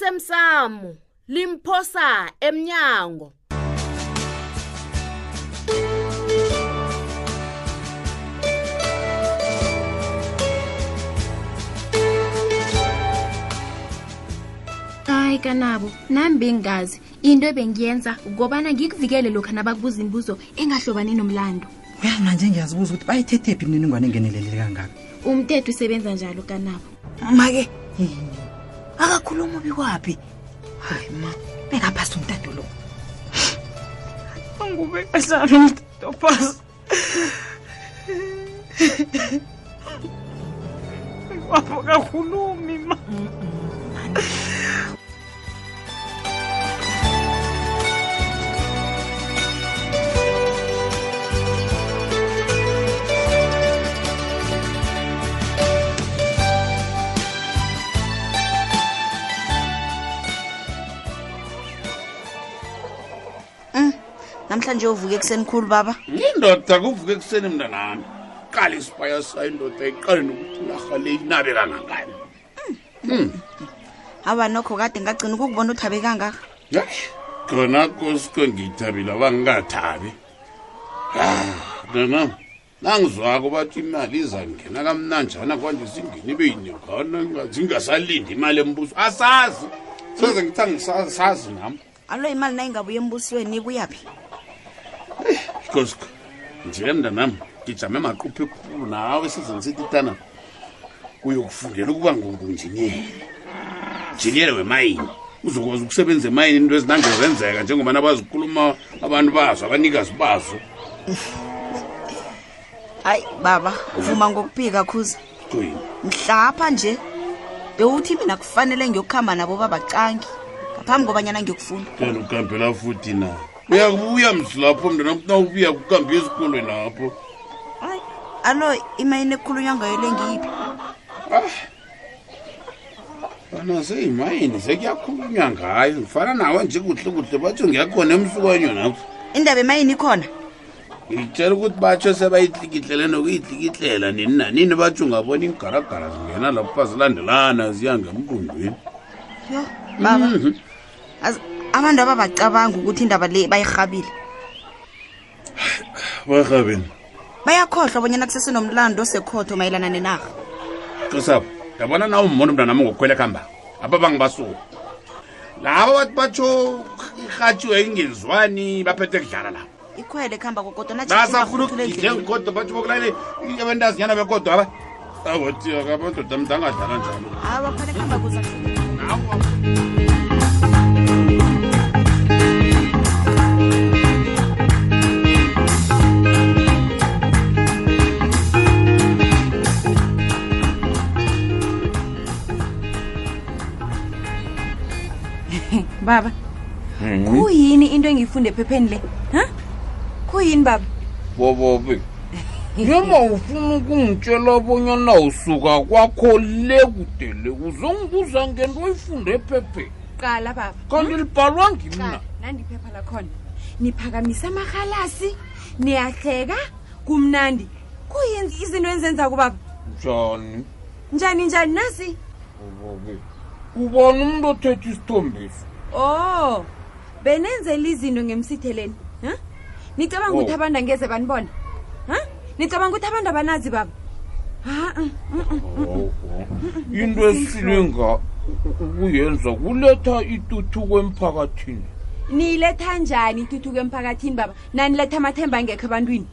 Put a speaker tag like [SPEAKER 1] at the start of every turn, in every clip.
[SPEAKER 1] osemsamo limphosa emnyango
[SPEAKER 2] hayi kanabo nami bengazi into ebengiyenza kukobana ngikuvikele lokhu nabakubuza imibuzo engahlobane nomlando
[SPEAKER 3] uyazi manje ngiyazibuza ukuthi bayithethephi imininingwane engeneleleli kangaka
[SPEAKER 2] umthetho usebenza njalo kanabo
[SPEAKER 3] ma-ke akakhuluma ubikwaphi hayi ma bekaphasi umtado lo ngube kahlani umtado phasi wapho kakhulumi ma
[SPEAKER 4] namhlanje uvuke ekuseni khulu baba
[SPEAKER 5] indoda kuvuke ekuseni mntanami qala isipaya sayo indoda iqale nokuthulaha le inabe kangangani
[SPEAKER 4] aba nokho kade ngagcina ukukubona uthabe kangaka
[SPEAKER 5] Hayi, khona kosike ngiyithabile abangingathabi mntanam nangizwako bathi imali izangena kamnanjana kwanje singeni beyiningana ngathi ingasalindi imali embuso asazi soze ngithi angisazi nami
[SPEAKER 4] alo imali nayingabuya embusweni ikuyaphi
[SPEAKER 5] kosike nje mntanam ngijame maquphi khulu nawe sizini sititana uyokufundela ukuba ngungunjiniyela njiniyela wemayini uzokwazi ukusebenza emayini into ezinangezenzeka njengobana bazikhuluma abantu bazo abanikazi bazo
[SPEAKER 4] hayi baba vuma ngokuphika khuza
[SPEAKER 5] Kuyini?
[SPEAKER 4] mhlapha nje bewuthi mina kufanele ngiyokuhamba nabo babacangi ngaphambi kobanyana ngiyokufunda
[SPEAKER 5] tena ukambela futhi na uyakubuya mzi lapho mntu namntu nawubuya kukambe esikolweni lapho
[SPEAKER 4] hayi alo imayini ekhulunywa ngayo le ngiyiphi
[SPEAKER 5] Ah, fana seyimayini sekuyakhulunywa ngayo ngifana nawe nje kuhle kuhle batsho ngiyakhona emsukanyo napho
[SPEAKER 4] indaba emayini ikhona
[SPEAKER 5] ngitshela ukuthi batsho sebayitlikitlele nokuyitlikitlela nini nanini batsho ungabona iingaragara zingena lapho zilandelana ziya ngemqundweni
[SPEAKER 4] yo baba azi abantu ababacabanga ukuthi indaba le bayirhabile
[SPEAKER 5] barhabeni
[SPEAKER 4] bayakhohlwa bonyana kusesenomlando osekhotho mayelana nenarha
[SPEAKER 5] xisapho ndabona nawe umbona umntana nami ngokukhwela ekuhambako aba bangibasuka laba bathi batsho irhatshiwe ingezwani baphethe kudlala labo
[SPEAKER 4] ikhwele ekuhamba kokodwa
[SPEAKER 5] basafuna ukugidle ngikodwa batsho bokulale abentazinyana bekodwa aba awotiaka amadoda mntu angadlala njalo
[SPEAKER 4] abakhwele ekuhamba kuza
[SPEAKER 5] nawo
[SPEAKER 6] baba kuyini into engiyifunde ephepheni le ha kuyini baba
[SPEAKER 5] bobobe noma ufuna ukungitshela bonyana usuka kwakho le kude le uzongibuza ngento oyifunde ephepheni
[SPEAKER 6] qala baba
[SPEAKER 5] kanti libhalwa ngimna
[SPEAKER 6] nandiphepha lakhona niphakamisa amahalasi niyahleka kumnandi kuyini izinto enizenza kubaba
[SPEAKER 5] njani
[SPEAKER 6] njani njani nasi
[SPEAKER 5] bobobe ubona umntu othetha isithombiso
[SPEAKER 6] o Oh, benenzela izinto ngemsitheleni ha nicabanga ukuthi
[SPEAKER 5] Oh.
[SPEAKER 6] abantu angeze banibona ha nicabanga ukuthi abantu abanazi baba mm. ha
[SPEAKER 5] into esilinga ukuyenza kuletha ituthuko emphakathini
[SPEAKER 6] niyiletha njani intuthuko emphakathini baba naniletha amathemba angekho ebantwini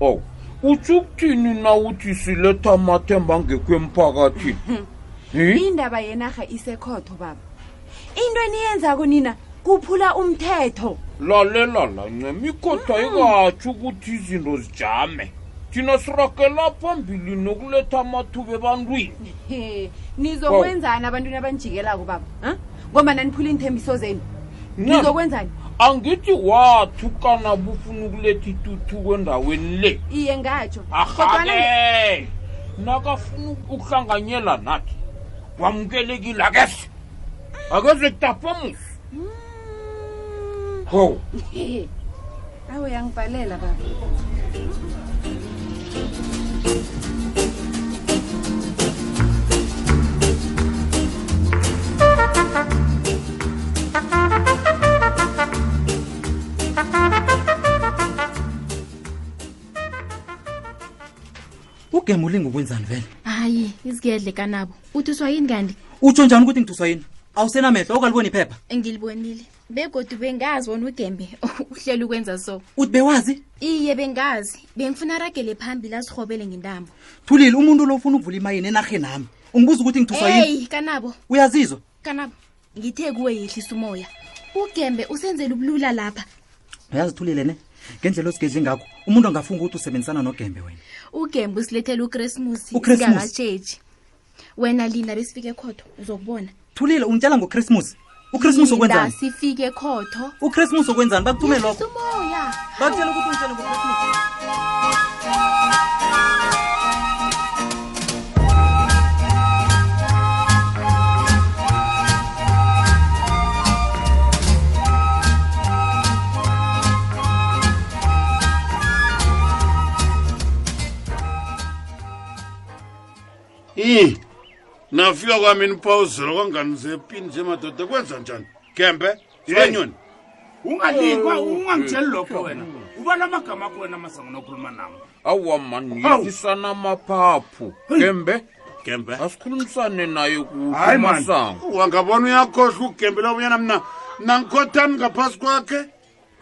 [SPEAKER 5] ow utsho Oh, ukuthini na uthi siletha amathemba angekho emphakathini Eh?
[SPEAKER 6] indaba yenarha isekhotho baba into eniyenzako nina kuphula umthetho
[SPEAKER 5] lalela lancema ikhotha ayikatsho ukuthi izinto zijame thina sirakela phambili nokuletha amathuba ebantwini
[SPEAKER 6] He, nizokwenzani abantwini abanijikelako baba ha ngoba naniphula iinthembiso zenu
[SPEAKER 5] Nya.
[SPEAKER 6] nizokwenzani
[SPEAKER 5] angithi wathi kana bufuna ukuletha ituthuko endaweni le
[SPEAKER 6] iye ngatsho Kodwana-
[SPEAKER 5] ahake nakafuna ukuhlanganyela nathi wamukelekile akese akeze kutapamusi ho
[SPEAKER 6] He, awu uyangibhalela baba
[SPEAKER 3] gema ulinga ukwenzani vele
[SPEAKER 2] hayi izigedle kanabo uthuswa yini kanti
[SPEAKER 3] utsho njani ukuthi ngiduswa yini awusenamehlo awukaliboni iphepha
[SPEAKER 2] ngilibonile begodu bengazi wona ugembe uhlela ukwenza so
[SPEAKER 3] uthi bewazi
[SPEAKER 2] iye bengazi bengifuna aragele phambili azirhobele ngentambo
[SPEAKER 3] thulile umuntu lo ufuna ukuvula imayini enarhe nami ungibuza ukuthi ngiduswa yini
[SPEAKER 2] eyi kanabo
[SPEAKER 3] uyazizwa
[SPEAKER 2] kanabo ngithe kuwe yehlisa umoya ugembe usenzela ubulula lapha
[SPEAKER 3] uyazi thulile ne ngendlela osigedle ngakho umuntu angafunga ukuthi usebenzisana nogembe wena
[SPEAKER 2] ugembe usilethele ukrismus
[SPEAKER 3] UKresmusi.
[SPEAKER 2] singakatshetshi wena lina besifike ekhotho uzokubona
[SPEAKER 3] thulile ungitshela ngochristmas uchristmas
[SPEAKER 2] Lila
[SPEAKER 3] okwenzani
[SPEAKER 2] sifike ekhotho
[SPEAKER 3] uchristmas okwenzani bakuthumele lokho
[SPEAKER 2] yehlisa umoya
[SPEAKER 3] bakutshela ukuthi ungitshele ngochristmas
[SPEAKER 5] i nafika kwami nipawuzelo kwangani zepini zemadoda kwenza njani gembe zibanyoni
[SPEAKER 7] ungalikwa ungangitsheli lokho wena ubala amagama akho wena amasangana okhuluma nawo
[SPEAKER 8] awa mani
[SPEAKER 7] Hawu.
[SPEAKER 8] yefisana amaphaphu gembe
[SPEAKER 5] gembe
[SPEAKER 8] asikhulumisane naye kuhle
[SPEAKER 7] Hayi, man.
[SPEAKER 8] masango
[SPEAKER 5] wangabona uyakhohlwa ukugembela obunyana mna nangikhothani ngaphasi kwakhe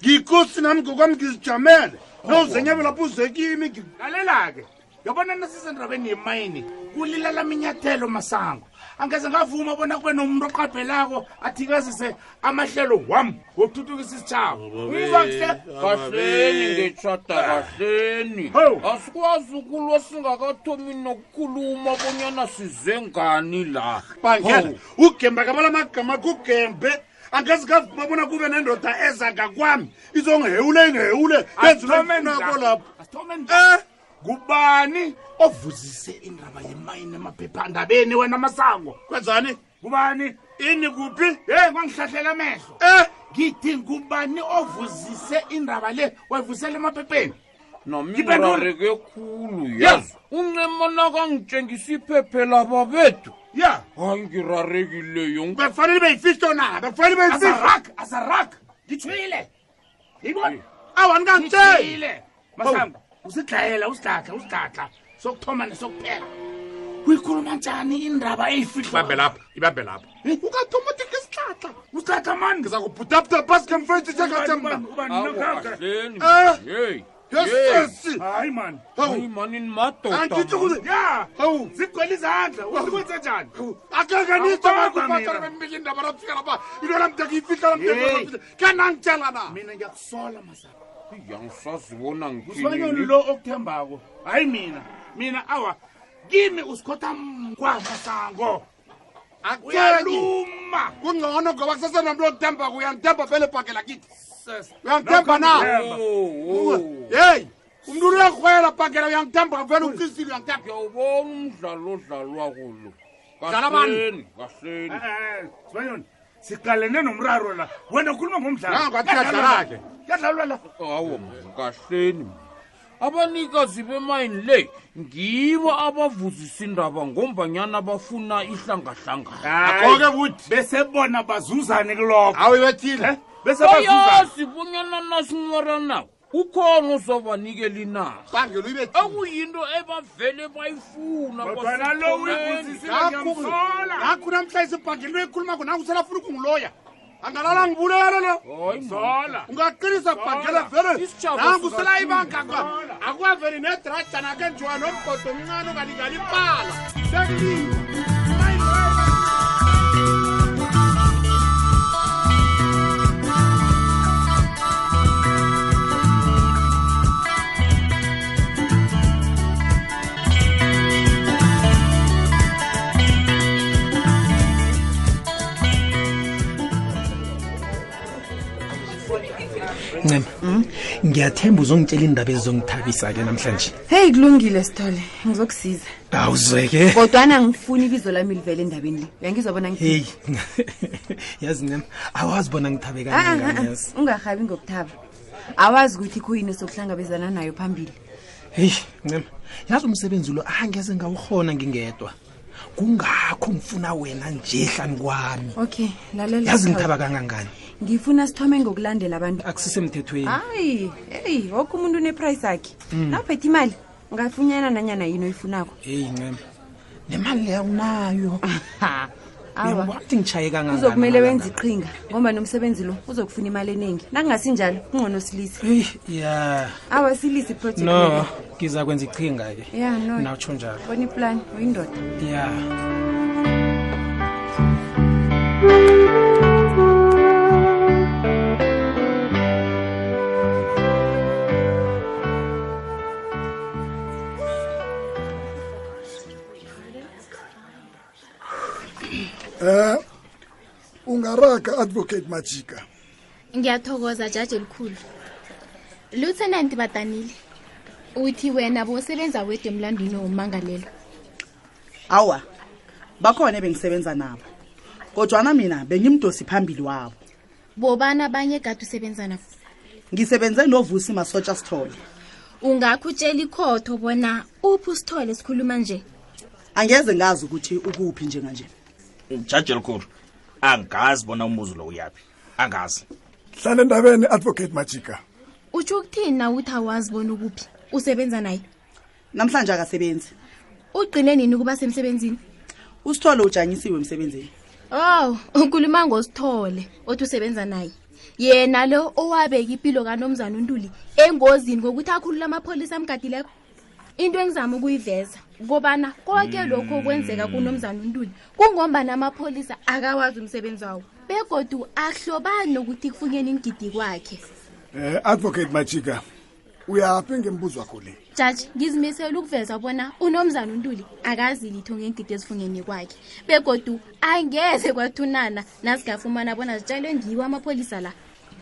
[SPEAKER 5] ngiyikosi nami ngokwami ngizijamele nowuzenyabe lapho uzekimi ngi-
[SPEAKER 7] lalela-ke yabona nasisendabeni yemayini kulila laminyathelo masango angeze ngavuma bona kube nomuntu oqabhelako athikezise amahlelo wami wokuthuthukisa isitshaba umvakuhle
[SPEAKER 8] kahleni ngetshata kahleni
[SPEAKER 7] Hawu.
[SPEAKER 8] asikwazi ukulwa singakathomi nokukhuluma bonyana size ngani la
[SPEAKER 5] bangela
[SPEAKER 8] Hawu.
[SPEAKER 5] ugembe kabala magama kugembe angezi ngavuma bona kube nendoda eza ngakwami izongihewule ingihewule
[SPEAKER 7] asithomeni la.
[SPEAKER 5] lapho
[SPEAKER 7] Asithomeni la.
[SPEAKER 5] Eh?
[SPEAKER 7] ngubani ovuzise indaba yemayini emaphephandabeni wena masango
[SPEAKER 5] kwenzani
[SPEAKER 7] ngubani
[SPEAKER 5] ini kuphi
[SPEAKER 7] ye kwangihlahlela amehlo
[SPEAKER 5] Eh?
[SPEAKER 7] ngithi ngubani ovuzise indaba le wayivusela emaphepheni
[SPEAKER 8] nami
[SPEAKER 7] Ngiphendule.
[SPEAKER 8] ngirareke khulu
[SPEAKER 7] Ya.
[SPEAKER 8] yazi uncema nakangitshengisa iphephe lababethu
[SPEAKER 7] ya
[SPEAKER 8] hayi ngirarekileyo
[SPEAKER 5] befanele beyifihle na befanele beyifihle
[SPEAKER 7] azaraka azaraka ngithwile yibona
[SPEAKER 5] awa nikangitsheli
[SPEAKER 7] ngithwile masango usidlayela usidlakla usidlakla sokuthoma nesokuphela uyikhuluma njani indaba eyifihlabambe lapha ibambe lapha
[SPEAKER 5] ukatomotike isihlahla
[SPEAKER 7] usidlakla mani
[SPEAKER 5] ngizakubhudabhuda phasi ngemfetshi njengathemna
[SPEAKER 7] hayi
[SPEAKER 8] kahleni
[SPEAKER 5] Eh?
[SPEAKER 8] hey
[SPEAKER 5] yesesi
[SPEAKER 7] mani
[SPEAKER 8] hayi
[SPEAKER 5] hawu
[SPEAKER 8] manini madoda
[SPEAKER 5] angithi ukuthi
[SPEAKER 7] ya
[SPEAKER 5] hawu
[SPEAKER 7] zigcwele izandla usikwenze njani
[SPEAKER 5] akekeniaaaambika indaba lafika lapha into lamdeka ifihla lamdeka kanangitshela na
[SPEAKER 7] mina ngiyakusola masango
[SPEAKER 8] yangisazibona
[SPEAKER 7] usibanyoni
[SPEAKER 8] ngithinile
[SPEAKER 7] lo okuthembako hayi mina mina awa kimi usikhotha mkwa masango
[SPEAKER 5] akeni
[SPEAKER 7] uyaluma
[SPEAKER 5] kungcono ngoba kusesenamntu othemba uyandithemba vele bhakela kithi
[SPEAKER 7] Sis,
[SPEAKER 5] uyangithemba na
[SPEAKER 7] Nokuthemba.
[SPEAKER 5] yeyi umntu uyakrwela bhakela uyangithemba vele ukrisile uyangithemba
[SPEAKER 8] ngiyawubona umdlalo odlalwako lo
[SPEAKER 5] Dlala bani?
[SPEAKER 8] kahleni kahleni
[SPEAKER 7] Eh, eh, sibanyoni siqalene nomraro la wena ukhuluma
[SPEAKER 5] Nangu athi uyadlala-ke.
[SPEAKER 7] yadlalwa la
[SPEAKER 8] hawo kahleni abanikazi bemayini le ngibo abavuzisa indaba ngombanyana bafuna ihlangahlangana
[SPEAKER 5] Akho-ke buthi
[SPEAKER 7] bese bona bazuzane kulokho
[SPEAKER 5] awu ibethile
[SPEAKER 7] Eh, bese bazuzane
[SPEAKER 8] bayazi bonyana nasinqoranako ukhona ozobanikela inarha
[SPEAKER 5] bhangela uyibethile
[SPEAKER 8] okuyinto ebavele bayifuna
[SPEAKER 7] kodwana lo
[SPEAKER 8] kwasekhoneni.
[SPEAKER 7] uyivuzisile ngiyamsola
[SPEAKER 5] nakho namhlanje ibhangela into ekhuluma khona akuselafuna ukungiloya angalala ngibulele lo
[SPEAKER 8] Hayi, man.
[SPEAKER 7] sola
[SPEAKER 5] ungaqinisa bhagela vele
[SPEAKER 8] Isitjhaba
[SPEAKER 5] nangu
[SPEAKER 8] sizathuka.
[SPEAKER 5] selayibanga akwaveli nedrajana kenjiwa nomgodo omncane ongalingalipala sekile
[SPEAKER 9] ncema ngiyathemba uzongitshela indaba ezizongithabisa-ke namhlanje
[SPEAKER 6] heyi kulungile sithole ngizokusiza
[SPEAKER 9] awuzweke
[SPEAKER 6] kodwana ngifuni ibizo lami livele endabeni le uyangizwa bona
[SPEAKER 9] heyi yazi ncema awazi bona ngithabe
[SPEAKER 6] Ah,
[SPEAKER 9] kangangayazi
[SPEAKER 6] ungarhabi ngokuthaba awazi ukuthi khuyini sokuhlangabezana nayo phambili
[SPEAKER 9] heyi ncema yazi umsebenzi lo angeze ngawurhona ngingedwa kungakho ngifuna wena nje hlani kwami
[SPEAKER 6] okay lalela
[SPEAKER 9] yazi
[SPEAKER 6] Sithole.
[SPEAKER 9] ngithaba kangangani
[SPEAKER 6] ngifuna sithome ngokulandela abantu
[SPEAKER 9] akusisemthethweni
[SPEAKER 6] hayi eyi woke umuntu uneprayisi yakhe nawuphethe imali ungafunyana nanyana yini oyifunako
[SPEAKER 10] heyi ncema nemali leyo unayo
[SPEAKER 6] awa
[SPEAKER 10] Uyangibona ukuthi ngitshaye kangangani
[SPEAKER 6] kuzokumele
[SPEAKER 10] amalanga
[SPEAKER 6] wenze iqhinga ngoba nomsebenzi lo uzokufuna imali eningi nakungasinjalo kungcono silise
[SPEAKER 10] eyi ya
[SPEAKER 6] awa silise iprojekt
[SPEAKER 10] no ngiza kwenza iqhinga-ke
[SPEAKER 6] ya no
[SPEAKER 10] nawutsho njalo
[SPEAKER 6] bona iplani uyindoda
[SPEAKER 10] ya
[SPEAKER 11] ungaraga advocate majika
[SPEAKER 2] ngiyathokoza jaji elikhulu lieutenant badanile uthi wena bosebenza wedwa emlandwini wommangalelo
[SPEAKER 3] awa bakhona ebengisebenza nabo kodwana mina bengimdosi phambili wabo
[SPEAKER 2] bobani abanye kade usebenza nabo
[SPEAKER 3] ngisebenze novusi masotsha sithole
[SPEAKER 2] ungakho utshela ikhotho bona uphi usithole sikhuluma nje
[SPEAKER 3] angeze ngazi ukuthi ukuphi njenganje
[SPEAKER 8] jaji elikhulu angazi bona umbuzo lo uyaphi angazi
[SPEAKER 11] hlala endabeni advocate majika
[SPEAKER 2] utsho ukuthini na uthi awazi bona ukuphi usebenza naye
[SPEAKER 3] namhlanje akasebenzi
[SPEAKER 2] ugqine nini ukuba semsebenzini
[SPEAKER 3] usithole ujanyisiwe emsebenzini
[SPEAKER 2] ow ukhuluma ngosithole othi usebenza naye yena lo owabeka impilo kanomzana untuli engozini ngokuthi akhulula amapholisa amgadileko into engizama ukuyiveza kobana konke lokhu okwenzeka kunomzana untuli kungombana amapholisa akawazi umsebenzi wawo begodu ahlobani nokuthi kufunyeni ingidi kwakhe
[SPEAKER 11] eh advocate majika uyaphi ngembuzo wakho le
[SPEAKER 2] jaji ngizimisele ukuveza bona unomzana untuli akazi litho ngengidi ezifungeni kwakhe begodu angeze kwathunana nazingafumana bona zitshalwe ngiwo amapholisa la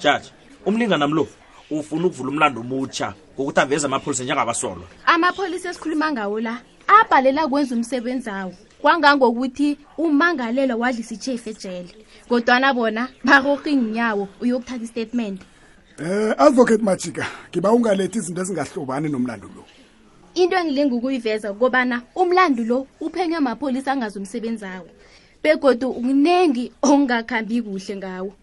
[SPEAKER 8] jaji umlinganami lo ufuna ukuvula umlando omutsha ngokuthi aveze amapholisa njengabasolwa
[SPEAKER 2] amapholisa esikhuluma ngawo la abhalela kwenza umsebenzi awo kwangangokuthi umangalelwa wadlisa ichefu ejele kodwana bona barorha iinyawo uyokuthatha istatement
[SPEAKER 11] eh advocate majika ngiba ungalethi izinto ezingahlobani nomlando lo
[SPEAKER 2] into engilinga ukuyiveza ukubana umlando lo uphenywe amapholisa angazi umsebenzi awo begodu unengi ongakhambi kuhle ngawo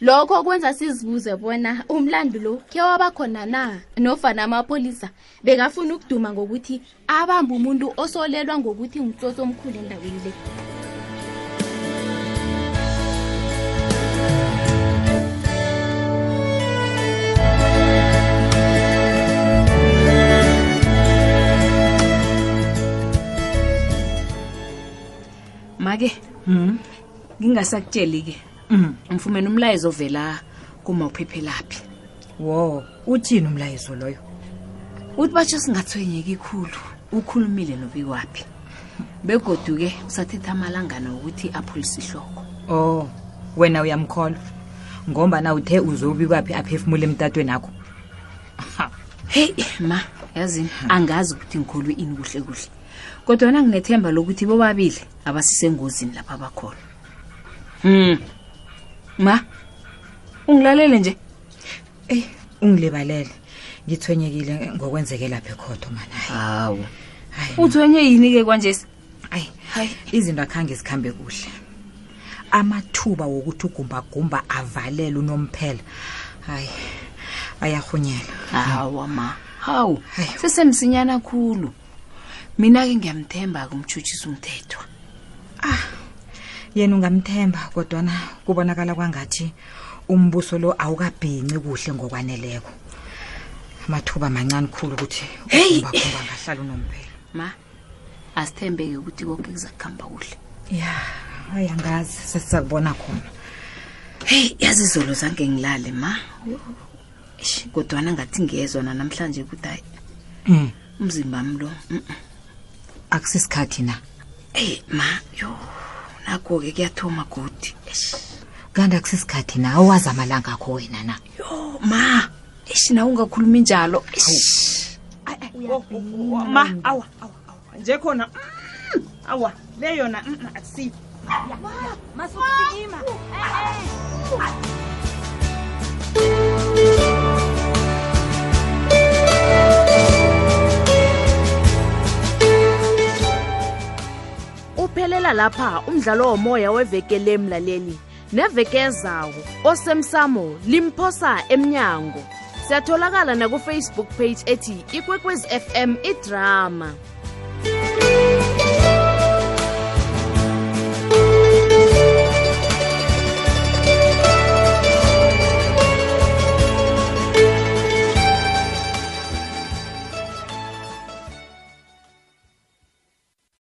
[SPEAKER 2] lokho kwenza sizibuze bona umlando lo khe waba khona na nofana amapholisa bekafuna ukuduma ngokuthi abambe umuntu osolelwa ngokuthi ngutsotsi omkhulu endaweni le
[SPEAKER 4] make ngingasakutsheli-ke ngifumene umlayezo ovela kuma uphephelaphi
[SPEAKER 7] wo uthini umlayezo loyo
[SPEAKER 4] uthi batsho singathwenyeki khulu ukhulumile nobikwaphi begoduke usathetha amalangana ukuthi apholise ihloko
[SPEAKER 7] oh wena uyamkholwa ngomba na uthe uzobi kwaphi aphefumule emtatweni akho
[SPEAKER 4] heyi ma yazini angazi ukuthi ngikholwe ini kuhle kuhle kodwana nginethemba lokuthi bobabili abasisengozini lapha bakhona hmm ma ungilalele nje
[SPEAKER 7] eyi ungilibalele ngithwenyekile ngokwenzeke lapha ekhotho mana
[SPEAKER 4] hawu uthwenye yini-ke kwanjesi
[SPEAKER 7] ayi izinto akhange zikhambe kuhle amathuba wokuthi ugumbagumba avalele unomphela hayi ayarhunyela
[SPEAKER 4] hawa ma hawu sesemsinyana khulu mina-ke ngiyamthemba-ke umtshutshisa umthetho
[SPEAKER 7] Ah, yena ungamthemba kodwana kubonakala kwangathi umbuso lo awukabhinci kuhle ngokwaneleko amathuba mancane khulu ukuthi
[SPEAKER 4] Hey!
[SPEAKER 7] ugumbagumba angahlala unomphela
[SPEAKER 4] ma asithembeke ukuthi konke kuza kuhamba kuhle
[SPEAKER 7] ya hayi angazi sesizakubona khona
[SPEAKER 4] heyi yazi izolo zange ngilale ma Eish, kodwana ngathi ngezwa nanamhlanje ukuthi hayi
[SPEAKER 7] um
[SPEAKER 4] umzimba wami lo mm, mm.
[SPEAKER 7] akusisikhathi na
[SPEAKER 4] eyi ma yo nakho-ke kuyathoma godi Eish,
[SPEAKER 7] kanti akusisikhathi na awazi amalanga akho wena na
[SPEAKER 4] yo ma ishi nawe ungakhulumi njalo
[SPEAKER 12] ma awa awa awa nje khona mm, awa le yona mm, mm, akusiyo
[SPEAKER 1] uphelela lapha umdlalo womoya weveke lemlaleli neveke ezawo osemsamo limphosa emnyango siyatholakala nakufacebook page ethi ikwekwezi fm idrama